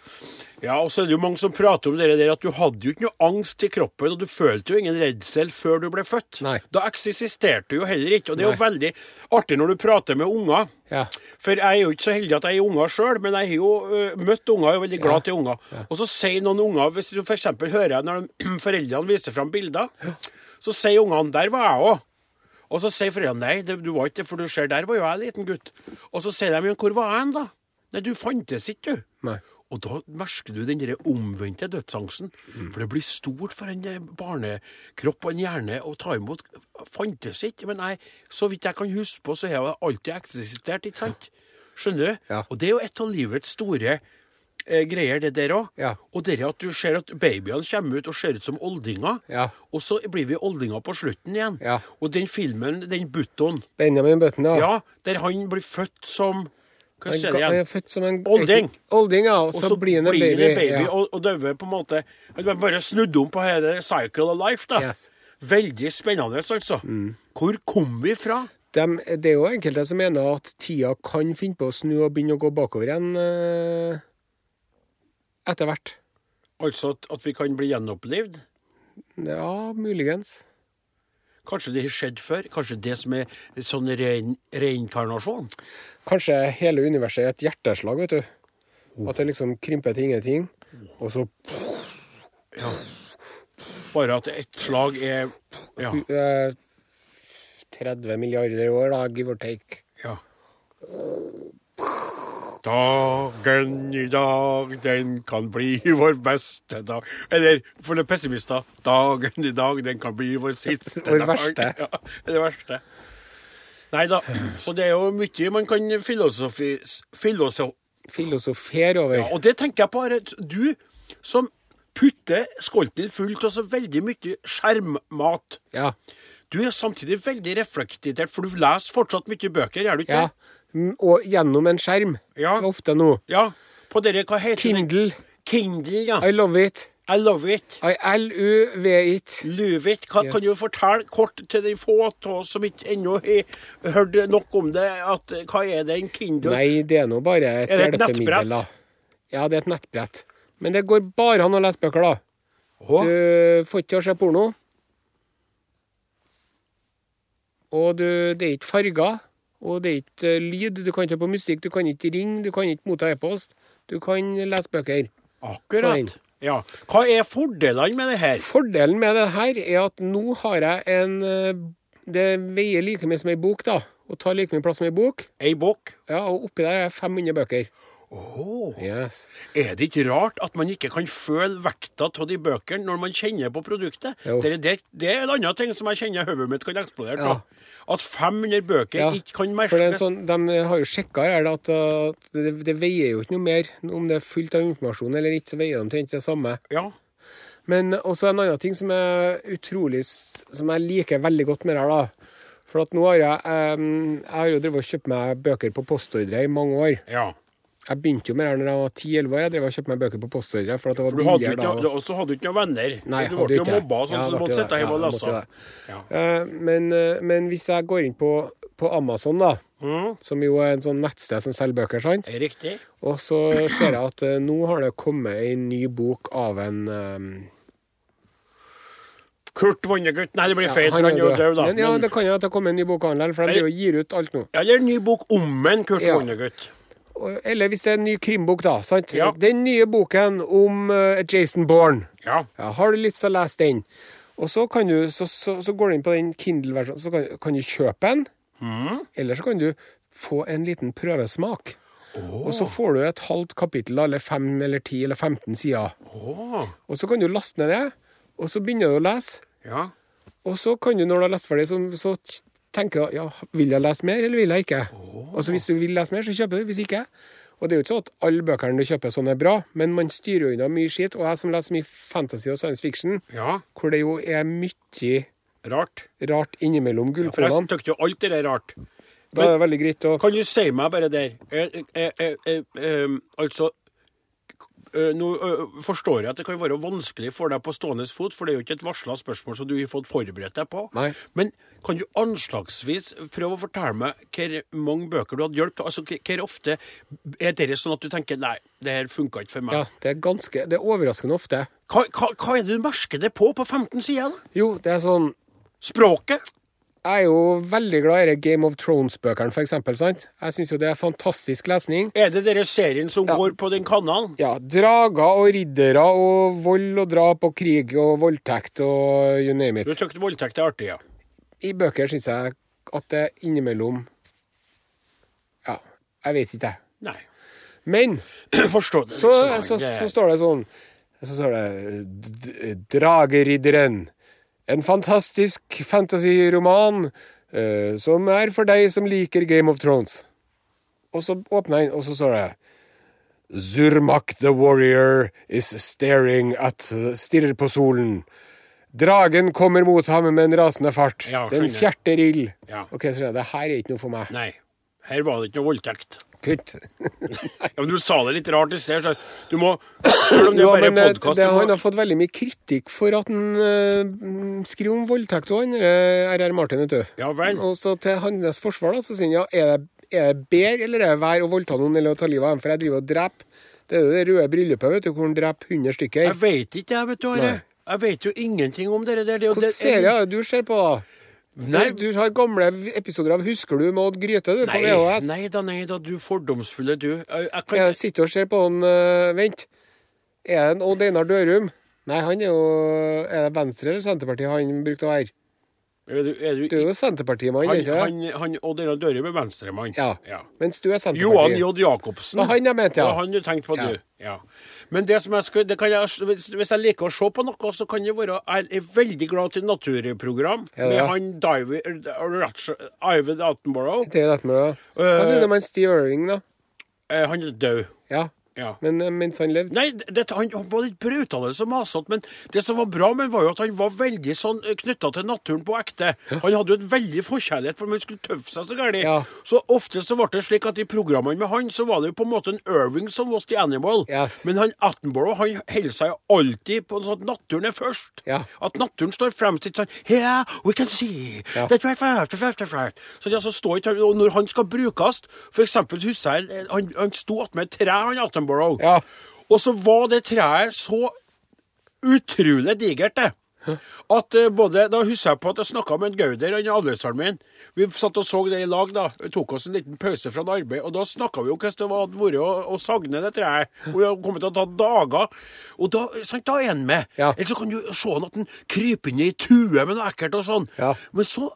Ja, og så er det jo mange som prater om det der at du hadde jo ikke noe angst i kroppen, og du følte jo ingen redsel før du ble født.
Nei.
Da eksisterte du jo heller ikke, og det er jo
Nei.
veldig artig når du prater med unger.
Ja.
For jeg er jo ikke så heldig at jeg er unger sjøl, men jeg har jo ø, møtt unger og er veldig glad til unger. Og så sier noen unger, hvis du f.eks. hører jeg når de, foreldrene viser fram bilder, så sier ungene 'der var jeg òg'. Og så sier foreldrene 'nei, det, du var ikke det, for du ser der var jo jeg liten gutt'. Og så sier de 'men hvor var jeg hen, da'? Nei, du fantes ikke, du.
Nei.
Og da merker du den der omvendte dødsangsten. For det blir stort for en eh, barnekropp og en hjerne å ta imot. Fantes ikke. Men jeg, så vidt jeg kan huske på, så har jeg alltid eksistert, ikke sant? Skjønner du?
Ja.
Og det er jo et av livets store eh, greier, det der òg.
Ja.
Og det er at du ser at babyene kommer ut og ser ut som oldinger.
Ja.
Og så blir vi oldinger på slutten igjen.
Ja.
Og den filmen, den Button,
Benjamin Button, ja.
ja. der han blir født som Hva
Han
skjer
ga- eh,
det
han
igjen?
er født som en
Olding.
Olding, ja. Og
Og
så, blir han en baby. ja.
og, og døver på en måte Han har bare snudd om på hele cycle of life, da.
Yes. Mm.
Veldig spennende, altså. Hvor kom vi fra?
Dem- det er jo enkelte som mener at tida kan finne på å snu og begynne å gå bakover igjen eh, etter hvert.
Altså at, at vi kan bli gjenopplivd?
Ja, muligens.
Kanskje det har skjedd før? Kanskje det som er sånn rein, reinkarnasjon?
Kanskje hele universet er et hjerteslag, vet du.
Oh.
At det liksom krymper til ingenting. Og så
Bare at ett slag er Ja.
eh, 30 milliarder år, da, give or take.
ja. Dagen i dag, den kan bli vår beste dag. Eller for de pessimister, dagen i dag, den kan bli vår siste
Vår
dag.
verste.
Ja, det verste. Nei da. Så det er jo mye man kan filosofi... filosof...
Filosofer over.
Ja, og det tenker jeg på, Are. Du som putter skolten full av så veldig mye skjermmat.
Ja.
Du er samtidig veldig reflektert, for du leser fortsatt mye bøker, gjør du ikke?
ja. Mm, Og gjennom en skjerm.
Ja.
Ofte nå.
ja. på dere, hva heter den?
Kindle.
Kindle, ja.
I love it.
I love it.
I love it.
Love it. Hva, Kan du fortelle kort til de få av oss som ikke ennå har hørt nok om det, at eh, hva er det en Kindle?
Nei, det er nå bare et
Er det et
hjelpemiddel, da.
nettbrett?
Ja, det er et nettbrett. Men det går bare an å lese bøker, da.
Å,
Du får ikke til å se porno. Og du, det er ikke farger, og det er ikke eh, lyd. Du kan ikke høre på musikk, du kan ikke ringe, du kan ikke motta e-post. Du kan lese bøker. Nei.
akkurat. Ja. Hva er fordelene med det her?
Fordelen med det her er at nå har jeg en eh, Det veier like mye som ei bok, da. Og tar like mye plass som ei bok.
Ei bok?
Ja, Og oppi der er 500 bøker.
Åh.
Yes.
Er det ikke rart at man ikke kan føle vekta av de bøkene når man kjenner på produktet?
Jo.
Det, er- det, det er en annen ting som jeg kjenner hodet mitt kan eksplodere
Ja.
av. At 500 bøker
Ja,
ikke kan
For det er en
merkes.
sånn, De har jo sjekka her at uh, det, det veier jo ikke noe mer. Om det er fullt av informasjon eller ikke, så veier de omtrent det samme.
Ja.
Men eh, også en annen ting som er utrolig s- Som jeg liker veldig godt med det her, da. For at nå har jeg em, Jeg har jo drevet og kjøpt meg bøker på postordre i mange år.
ja.
Jeg begynte jo med det her når jeg var 10-11 år. Jeg drev og kjøpte meg bøker på postordre. For at det var
For du hadde jo
billigere
ikke,
da.
du- også hadde du ikke noen venner.
Nei,
du
hadde
ble jo
ikke det.
mobba, og sånn,
Ja,
så du
ble
måtte
jo
sitte
det.
hjemme og
Ja, jeg
lese.
måtte det. Eh, Men, eh, men hvis jeg går inn på, på Amazon, da,
Mhm.
som jo er en sånn nettsted som selger bøker, sant?
Er Riktig.
og så ser jeg at eh, nå har det kommet ei ny bok av en eh,
Kurt Vonnegut. Nei, det blir feil,
han
for han er jo død, da.
Men, ja,
Men-
det kan jo at det kommer en ny bok av han likevel, for de driver og gir ut alt nå.
Eller en ny bok om en Kurt
Ja.
Vonnegut.
Og- Eller hvis det er en ny krimbok, da. sant?
Ja.
Den nye boken om eh, Jason Bourne.
Ja.
Ja, har du lyst til å lese den? Og så, kan du, så, så, så går du inn på den Kindle-versjonen, så kan, kan du kjøpe den. Eller så kan du få en liten prøvesmak. Og så får du et halvt kapittel, eller fem eller ti eller 15 sider.
Åh.
Og så kan du laste ned det, og så begynner du å lese.
Ja.
Og så kan du, når du har lest ferdig, så, så t- tenker du ja, vil jeg lese mer, eller vil jeg ikke? Og så hvis du vil lese mer, så kjøper du. Hvis ikke Og det er jo ikke sånn at alle bøkene du kjøper sånn er bra, men man styrer jo unna mye skitt. Og jeg som leser mye fantasy og science fiction,
ja.
hvor det jo er mye
Rart.
rart innimellom
For jeg
gullkronene.
syntes jo alt det der rart.
Da er det veldig greit å
Kan du si meg bare der eh, eh, eh, eh, eh, Altså eh, Nå eh, forstår jeg at det kan være vanskelig for deg på stående fot, for det er jo ikke et varsla spørsmål som du har fått forberedt deg på.
Nei.
Men kan du anslagsvis prøve å fortelle meg hvor mange bøker du hadde hjulpet? Altså, hvor- hvor ofte er det sånn at du tenker nei, det her funka ikke for meg?
Ja, det er ganske Det er overraskende ofte.
Hva, hva, hva er det du merker det på på 15 sider? da?
Jo, det er sånn
Språket?
Jeg er jo veldig glad i disse Game of Thrones-bøkene, for eksempel, sant? Jeg syns jo det er fantastisk lesning.
Er det dere serien som går på den kanalen?
Ja, drager og riddere og vold og drap og krig og voldtekt og you name
Du
it.
syns voldtekt er artig, ja?
I bøker syns jeg at det innimellom Ja, jeg vet ikke, jeg.
Nei.
Men
Forstå det.
så,
liksom.
så,
Det-
så står det sånn Så står det d- d- Drageridderen. En fantastisk fantasyroman eh, som er for deg som liker Game of Thrones. Og så åpner jeg inn, og så står det Zurmak the warrior is staring at Stirrer på solen. Dragen kommer mot ham med en rasende fart.
Ja,
Den
skjønner.
fjerter ild.
Ja.
Ok, så det her er ikke noe for meg.
Nei. Her var det ikke noe voldtekt.
Kutt.
Ja, men Du sa det litt rart i sted, så du må Selv om det er
Ja,
bare
men eh,
podkast
det, Han
må...
har fått veldig mye kritikk for at han eh, mm, skriver om voldtekt og han eh, RR Martin, vet du.
Ja vel.
Og så til hans forsvar da, så sier han ja, er det, er det bedre eller er det verre å voldta noen eller å ta livet av dem, for jeg driver og dreper. Det er jo det røde bryllupet, vet du, hvor han dreper 100
Jeg
stykker.
veit ikke, jeg, vet du, Are.
Nei.
Jeg vet jo ingenting om dere der. Det, er jo-
Hvilken
det-
serie er det du ser på, da?
Nei.
Du, du har gamle v- episoder av Husker du med Odd Grythe, du, på
Nei,
VHS.
nei da, nei da, du fordomsfulle du. Jeg, jeg kan...
Jeg sitter og ser på han eh, Vent. Er det en Odd Einar Dørum? Nei, han er jo Er det Venstre eller Senterpartiet han brukte å være?
Er du, er du...
Du er jo Senterpartimann,
Han,
ikke sant?
han, han og denne døra med venstremann.
Ja. Mens du er
Johan
Senterpartiet.
J. Jacobsen.
Det var han jeg mente,
Det
ja.
var han du tenkte på,
Ja.
du. Ja. Men det som jeg skulle, det kan jeg, hvis- hvis jeg liker å se på noe, så kan det være Jeg er veldig glad til naturprogram
Ja,
med
ja.
han Divi- Ratch- Ivan Attenborough.
Det er jo dette med det. Hva
Eh,
synes du om han Steve Irving, da?
Eh, han er død.
Ja.
Ja.
men, eh, mens han levde.
Nei, det, han var litt brautende og masete, men det som var bra med han, var jo at han var veldig sånn knytta til naturen på ekte. Han hadde jo en veldig forkjærlighet for om han skulle tøffe seg så gærent.
Ja.
Så ofte så ble det slik at i programmene med han, så var det jo på en måte en Irving som was the animal.
Yes.
Men han Attenborough han holder seg jo alltid på sånn at naturen er først.
Ja.
At naturen står fremstilt sånn Yeah, we can see
Ja.
that we're fast, we're fast, we're fast. Så det altså står ikke, og når han skal brukes, for eksempel Hussein, eh, han, han sto attmed et tre, han Attenborough.
Ja.
Og så var det treet så utrolig digert, det. At eh, både, Da husker jeg på at jeg snakka med en Gauder, han avløseren min. Vi satt og så det i lag, da. Vi tok oss en liten pause fra en arbeid. Og da snakka vi om hvordan det var- hadde vært å, å sagne det treet. Og det hadde kommet til å ta dager. Og da, sant, da er han med.
Ja.
Eller så kan du se han at han kryper inn i tue med noe ekkelt og sånn.
Ja.
Men så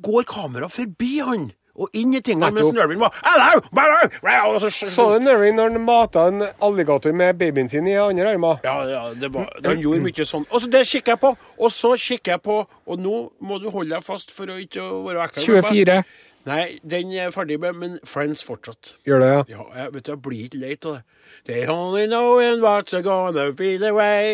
går kameraet forbi han. Og inn i tingene mens
Nettopp.
Nørvin var Hello! Hello! Hello! Og så-
Så du Nervin når han mata en alligator med babyen sin i andre armer?
Ja, ja, det var, han gjorde mye sånn. Og så det kikker jeg på, og så kikker jeg på, og nå må du holde deg fast for å ikke å være ekkel.
24.
Nei, den er jeg ferdig med, men Friends fortsatt.
Gjør det, ja.
Ja, jeg, vet du, jeg blir ikke leit av det. They only knowing what's gonna be the way.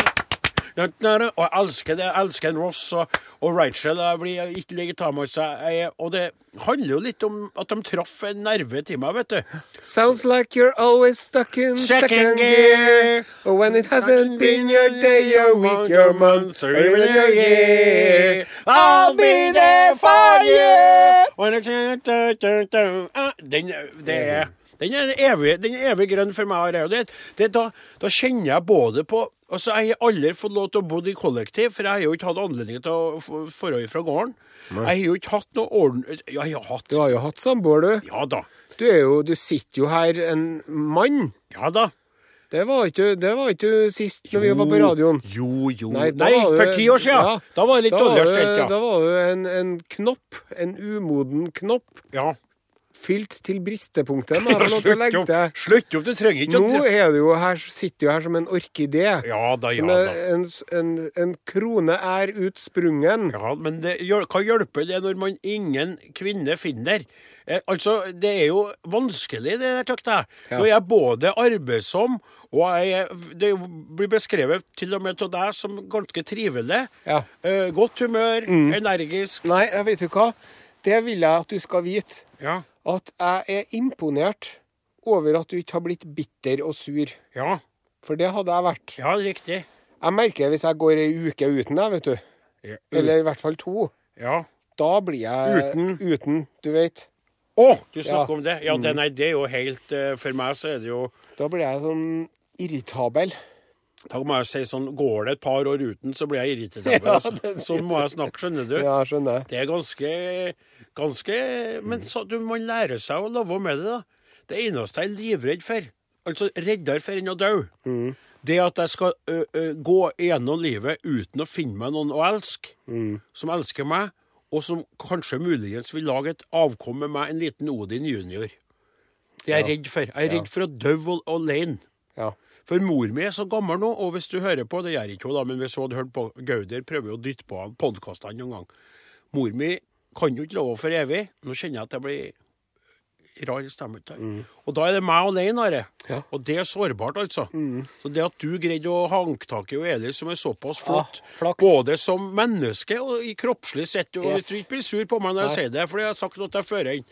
Na, na, na. Og jeg elsker det. Jeg elsker en Ross og, og Rachel. Jeg blir ikke legit av meg. så jeg- Og det handler jo litt om at de traff en nerve til meg, vet du.
Sounds like you're always stuck in
Second
second
gear.
gear. Or when it hasn't been your day, your week, your month, or even your year. I'll be there for you.
ah, Den, det er, den er evig, den er evig grønn for meg. Are, og Det, det, da, da kjenner jeg både på Altså, Jeg har aldri fått lov til å bo i kollektiv, for jeg har jo ikke hatt anledning til å få forhold fra gården. Jeg har jo ikke hatt noe orden... Ja, jeg har hatt
Du har jo hatt samboer, du.
Ja da.
Du, er jo, du sitter jo her en mann.
Ja da.
Det var ikke, det var ikke du sist når vi var på radioen.
Jo, jo Nei,
da var du-
for ti år siden!
ja,
da var det litt
da var
dårligere
du-
stelt, ja.
Da var du en, en knopp, en umoden knopp,
ja.
fylt til bristepunktet. men har du lov til å
Slutt
legge
opp,
til.
slutt opp, du trenger ikke
Nå er du jo her, sitter du her som en orkidé.
Ja da, ja
Som
da.
er en, en, en krone er utsprungen.
Ja, men det, hjøl- hva hjelper det når man ingen kvinne finner? Eh, altså, det er jo vanskelig, det der, takk deg.
Ja.
Når jeg er både arbeidsom, og jeg er- det er jo- blir beskrevet til og med av deg som ganske trivelig.
Ja. Mm.
Eh, godt humør, energisk.
Nei, jeg vet jo hva. Det vil jeg at du skal vite.
Ja.
At jeg er imponert over at du ikke har blitt bitter og sur.
Ja,
For det hadde jeg vært.
ja riktig.
Jeg merker hvis jeg går ei uke uten deg, vet du.
Ja.
Eller i hvert fall to.
ja.
Da blir jeg
Mm. Uten?
uten du vet.
Å, du snakker
Ja. Mm.
om det. Ja, det, nei, det er jo helt eh, For meg så er det jo
Da blir jeg sånn irritabel.
Da må jeg si sånn Går det et par år uten, så blir jeg irritabel.
Ja,
altså.
det sier
så må jeg snakke, skjønner du.
Ja, skjønner.
Det er ganske, ganske Men så, du må lære seg å leve med det, da. Det eneste jeg er livredd for, altså reddere for enn å dø,
Mm.
det er at jeg skal ø, ø, gå gjennom livet uten å finne meg noen å elske,
Mm.
som elsker meg, og som kanskje muligens vil lage et avkom med meg, en liten Odin junior. Det er jeg redd for. Jeg er redd for å dø al- alene.
Ja.
For mor mi er så gammel nå, og hvis du hører på, det gjør ikke hun da, men hvis hun hadde hørt på Gauder, prøver jo å dytte på han podkastene noen gang. Mor mi kan jo ikke love for evig. Nå kjenner jeg at jeg blir rar i stemmen. til. Og da er det meg alene, Are.
Mm. Ja. Mm.
Og det er sårbart, altså. Så det at du greide å hanke tak i hun Eli, som er såpass flott,
Ah, flaks.
både som menneske og i kroppslig sett og
Yes.
Du ikke blir sur på meg når jeg sier det, for jeg har sagt noe til fører inn.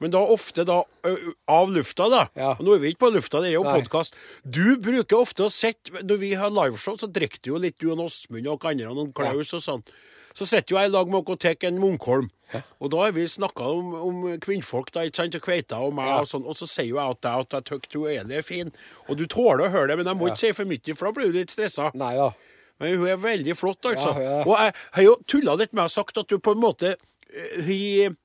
Men da ofte da ø, ø, av lufta, da.
Ja.
Og Nå er vi ikke på lufta, det er jo
Nei.
podkast. Du bruker ofte å sitte Når vi har liveshow, så drikker du jo litt, du og Åsmund og noen andre, og noen Klaus og sånn. Så sitter jo jeg i lag med dere og tar en Munkholm. Og da har vi snakka om, om kvinnfolk, da, ikke sant, og kveita og meg og sånn, og så sier jo jeg at jeg at jeg tykker hun Eli er fin. Og du tåler å høre det, men jeg må ikke si for mye, for da blir du litt stressa.
Nei da.
Men hun er veldig flott, altså.
Ja, ja.
Og jeg har jo tulla litt med og sagt at du på en måte eh, Hun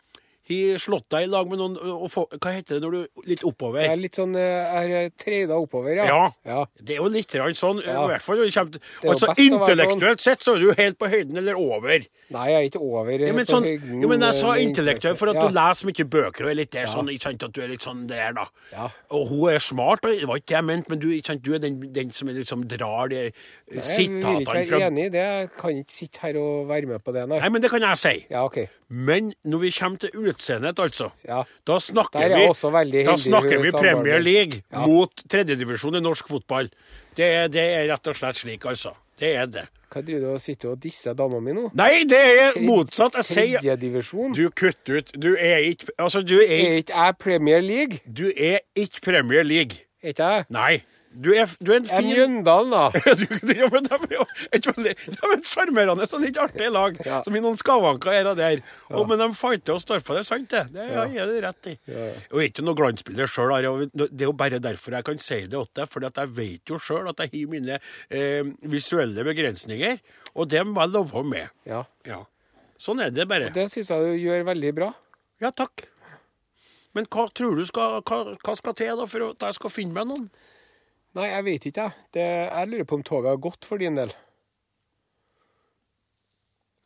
hun slått deg i lag med noen og få, Hva heter det når du litt oppover?
Jeg er litt sånn eh, Jeg er treida oppover, ja.
Ja.
ja.
Det er jo litt grann sånn,
Ja.
i hvert fall. når det kommer til-
er jo
altså
best å være sånn.
Intellektuelt sett så er du helt på høyden eller over.
Nei, jeg er ikke over eh,
Ja, men,
på
sånn,
høyden,
jo, men jeg sa
eh, med
intellektuelt for at
ja.
du leser mye bøker og er litt der sånn, ikke sant, at du er litt sånn der, da.
Ja.
Og hun er smart, og det var ikke det jeg mente, men du, ikke sant, du er den, den som liksom drar de eh,
Jeg vil
sitatene
ikke være
fra
enig i det. Jeg kan ikke sitte her og være med på det, nei.
Nei, men det kan jeg si.
Ja, OK.
Men når vi kommer til Toppsenhet, altså.
Ja.
Da snakker
Der er jeg også
vi,
veldig
da
heldig
snakker vi
samarbeidet.
Premier League
Ja.
mot tredjedivisjon i norsk fotball. Det, er- det er rett og slett slik, altså. Det er det.
Hva driver du og sitter og disser dama mi nå?
Nei, det er motsatt. Jeg sier
Tredjedivisjon?
Du kutter ut. Du er ikke Altså, du er,
Er ikke jeg Premier League?
du er ikke Premier League.
Er ikke jeg?
Nei. Du er, du er en
Jeg er
fin
Mjøndalen, da.
Du- du- ja, men De er jo et veldig- de er et sjarmerende og litt artig lag,
Ja.
som i noen skavanker her og der. Og, men de fant det og står for det, sant det? Det har jeg det rett i. Og jeg er ikke noe glansbilde sjøl, det er jo bare derfor jeg kan si det til deg. For jeg vet jo sjøl at jeg har mine eh, visuelle begrensninger, og det må jeg leve med.
Ja.
Ja. Sånn er det bare.
Det syns jeg du gjør veldig bra.
Ja, takk. Men hva tror du skal, hva, hva skal til da for at jeg skal finne meg noen?
Nei, jeg vet ikke, jeg. Det, jeg lurer på om toget har gått for din del.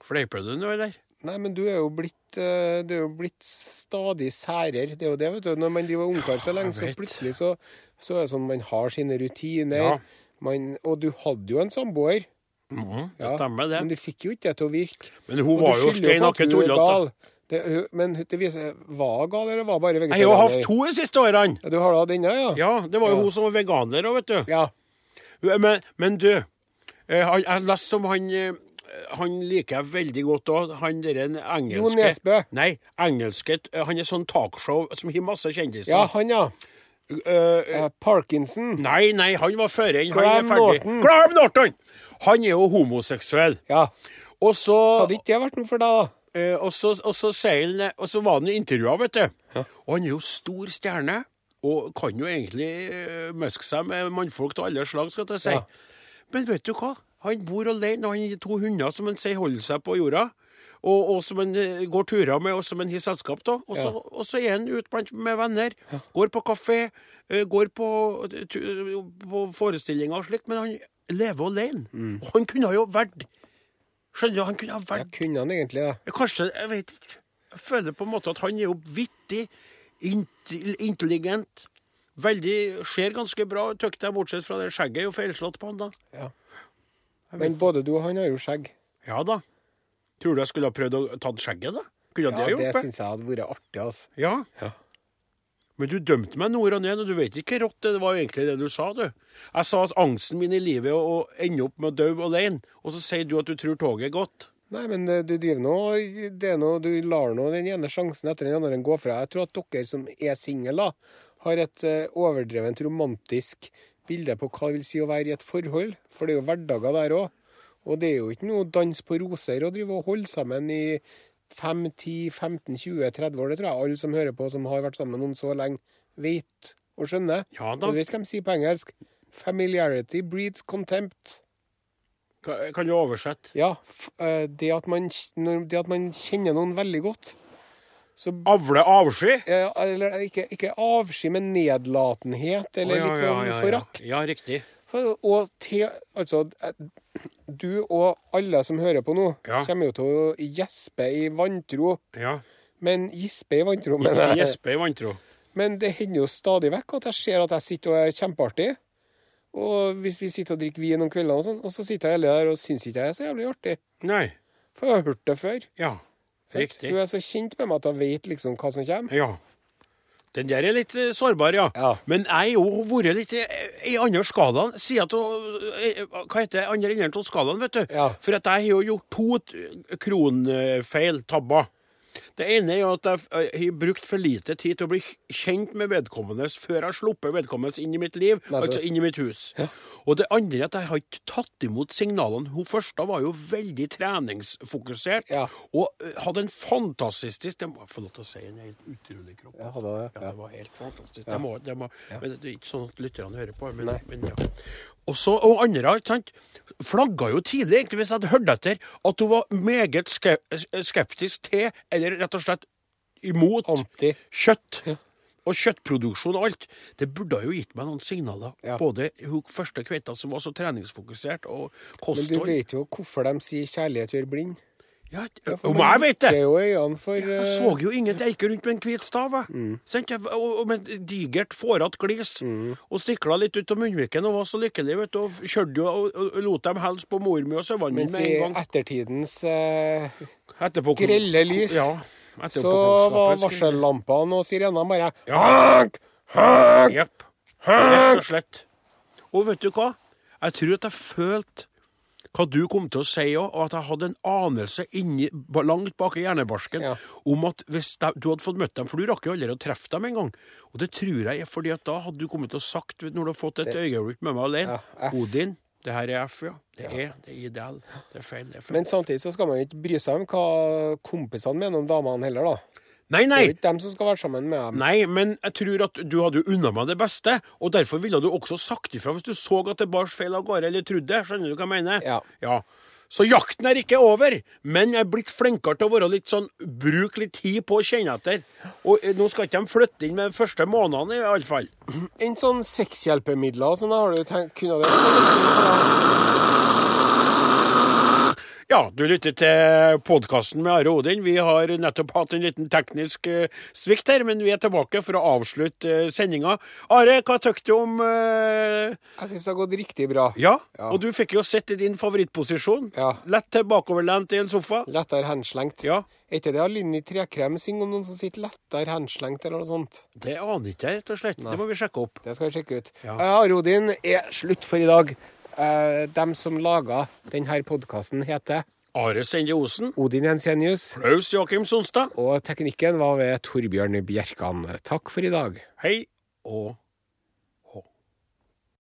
Fleiper du nå, eller?
Nei, men du er jo blitt, eh, du er jo blitt stadig særere. Det er jo det, vet du. Når man driver ungkar så lenge, så
vet.
plutselig så, så er det sånn man har sine rutiner.
Ja.
Man, og du hadde jo en samboer.
Mhm, det
Ja,
stemmer, det.
Men du fikk jo ikke det til å virke.
Men hun
Og
var
du
jo
skylder på at
steinakket
du er
tullete.
gal. Det, hun- men det viser Var hun gal, eller var hun bare vegetarianer?
Jeg har jo hatt to de siste årene.
Ja, du har da denne, ja?
Ja, det var jo
Ja.
hun som var veganer òg, vet du.
Ja.
Men, men du, eh, han- jeg leste som han eh, Han liker jeg veldig godt òg, han der en engelske
Jon Nesbø.
Nei, engelske eh, Han er sånn talkshow som har masse kjendiser.
Ja, han, ja.
Eh,
Eh, Parkinson.
nei, nei, han var før enn han er
Graham
ferdig.
Norton.
Graham Norton! Han er jo homoseksuell.
Ja.
Og så
Hadde ikke det vært noe for deg, da?
Eh, og, så, og, så sier han, og så var han i intervjuer, vet du. Og han er jo stor stjerne, og kan jo egentlig eh, møske seg med mannfolk av alle slag, skal jeg si.
Ja.
Men vet du hva? Han bor alene, og han har to hunder som han sier holder seg på jorda. Og, og som han eh, går turer med, og som han har selskap av. Og, så-
Ja.
og så er han ute blant med venner. Går på kafé, eh, går på, eh, tu- på forestillinger og slikt. Men han lever alene.
Mm.
Og han kunne ha jo vært Skjønner du, han kunne ha vært
Ja, kunne han egentlig det?
Kanskje, jeg vet ikke. Jeg føler på en måte at han er jo vittig, int intelligent, veldig, ser ganske bra ut, tøkte jeg, bortsett fra det skjegget er jo feilslått på han da.
Ja.
Jeg
Men både du og han har jo skjegg.
Ja da. Tror du jeg skulle ha prøvd å ta skjegget da? Kunne jeg
Ja,
det
det
gjort? Det
syns jeg hadde vært artig, altså.
ja.
Ja.
Men du dømte meg nord og ned, og du vet ikke hvor rått det det var jo egentlig det du sa, du. Jeg sa at angsten min i livet er å ende opp med å dø alene, og så sier du at du tror toget er godt.
Nei, men eh, du driver nå det er noe, Du lar nå den ene sjansen etter den andre gå fra. Jeg tror at dere som er single, da, har et eh, overdrevent romantisk bilde på hva det vil si å være i et forhold. For det er jo hverdager der òg. Og det er jo ikke noe dans på roser å drive og holde sammen i 5, 10, 15, 20, 30 år. Det tror jeg alle som hører på, som har vært sammen med noen så lenge, vet og skjønner.
Ja da.
Og du vet hva de sier på engelsk? Familiarity breeds contempt.
Kan kan du oversette?
Ja, f eh, det, at man, kj- når- det at man kjenner noen veldig godt. Så,
Avle avsky?
eh, eller ikke, ikke avsky, men nedlatenhet,
Å,
eller
ja,
litt sånn
ja, ja, ja.
forakt.
Ja, riktig.
For- Og til, altså, eh, du og alle som hører på nå,
Ja.
kommer jo til å gjespe i vantro.
Ja.
Men gispe i vantro,
Men
men,
Jesper i vantro.
men det hender jo stadig vekk at jeg ser at jeg sitter og er kjempeartig. Og hvis vi sitter og drikker vin om kveldene, og sånn, og så sitter jeg hele der og syns ikke jeg er så jævlig artig.
Nei.
For jeg har hørt det før.
Ja.
Sant? Du
Riktig.
er så kjent med meg at jeg vet liksom hva som kommer.
Ja. Den der er litt eh, sårbar, ja.
Ja.
Men jeg har jo vært litt i, i andre skalaen. Sier at eh, Hva heter det? Andre enden av skalaen, vet du.
Ja.
For at jeg har jo gjort to t- kronfeil, tabber. Det ene er jo at jeg eh, har brukt for lite tid til å bli kjent med vedkommende før jeg har sluppet vedkommende inn i mitt liv,
Nei, det-
altså inn i mitt hus. Og det andre er at jeg har ikke tatt imot signalene. Hun første var jo veldig treningsfokusert
Ja.
og eh, hadde en fantastisk Det må jeg få lov til å si, en helt utrolig kropp. altså.
Ja, hadde det,
ja,
ja.
det var helt fantastisk. Det, må, det, må, men det er ikke sånn at lytterne hører på. Men,
Nei.
men ja. Og så, og andre, ikke sant, flagga jo tidlig, egentlig, hvis jeg hadde hørt etter, at hun var meget ske eh, skeptisk til, eller rett og slett imot,
Anti.
kjøtt. Og kjøttproduksjon og alt. Det burde ha jo gitt meg noen signaler.
Ja.
Både hun første kveita som var så treningsfokusert, og
Men du
kosthold
vet jo hvorfor de sier 'kjærlighet gjør blind'.
ja,
Ja, for
Om
man
jeg vet det!
lukker jo øynene for
Jeg
eh,
så jo ingen eike rundt med en hvit stav, jeg.
Mm.
Sant? Jeg- Og, og med et digert, fårete glis. Og stikla litt ut av munnviken og var så lykkelig, vet du. Og kjørte jo og, og, og lot dem helse på mor mi og sønnen min
Mens
med
i
en gang.
ettertidens eh,
Etterpå
grelle lys
Ja. Etter
Så var varsellampene og sirenene bare
Ja.
Hank! Hank!
Jepp. Rett og
Hank!
slett. Og vet du hva? Jeg tror at jeg følte hva du kom til å si òg, og at jeg hadde en anelse inni, ba- langt bak i hjernebarsken
Ja.
om at hvis de, du hadde fått møtt dem For du rakk jo aldri å treffe dem engang. Og det tror jeg er fordi at da hadde du kommet til å sagt, når du har fått et øyeblikk med meg alene
Ja, F.
Odin, det her er F, ja. Det er det er ideal. Det er feil, det er feil.
Men samtidig så skal man jo ikke bry seg om hva kompisene mener om damene heller, da.
nei,
Det
nei!
er jo ikke dem som skal være sammen med dem.
Nei, men jeg tror at du hadde jo unna meg det beste, og derfor ville du også sagt ifra hvis du så at det bars feil av gårde, eller trodde det. Skjønner du hva jeg mener?
Ja.
Så jakten er ikke over, men jeg er blitt flinkere til å være litt sånn Bruk litt tid på å kjenne etter. Og eh, nå skal ikke de flytte inn med de første månedene, i alle fall.
En sånn sexhjelpemidler og sånn, da har du tenkt Kunne det vært
Ja, du lytter til podkasten med Are Odin. Vi har nettopp hatt en liten teknisk eh, svikt her, men vi er tilbake for å avslutte eh, sendinga. Are, hva tykker du om eh,
Jeg syns det har gått riktig bra.
Ja,
Ja.
og du fikk jo sett i din favorittposisjon.
Ja.
Lett tilbakeoverlent i en sofa.
Lettere henslengt.
Ja.
Er ikke det Linni Trekrem synger om noen som sitter lettere henslengt, eller noe sånt?
Det aner ikke jeg, rett og slett. Det må vi sjekke opp.
Det skal vi sjekke ut.
Ja.
Eh, Arodin er slutt for i dag. Eh, dem som laga denne podkasten, heter
Are Sende Osen.
Odin Jensenius.
Klaus Joakim Sonstad.
Og teknikken var ved Torbjørn Bjerkan. Takk for i dag.
Hei og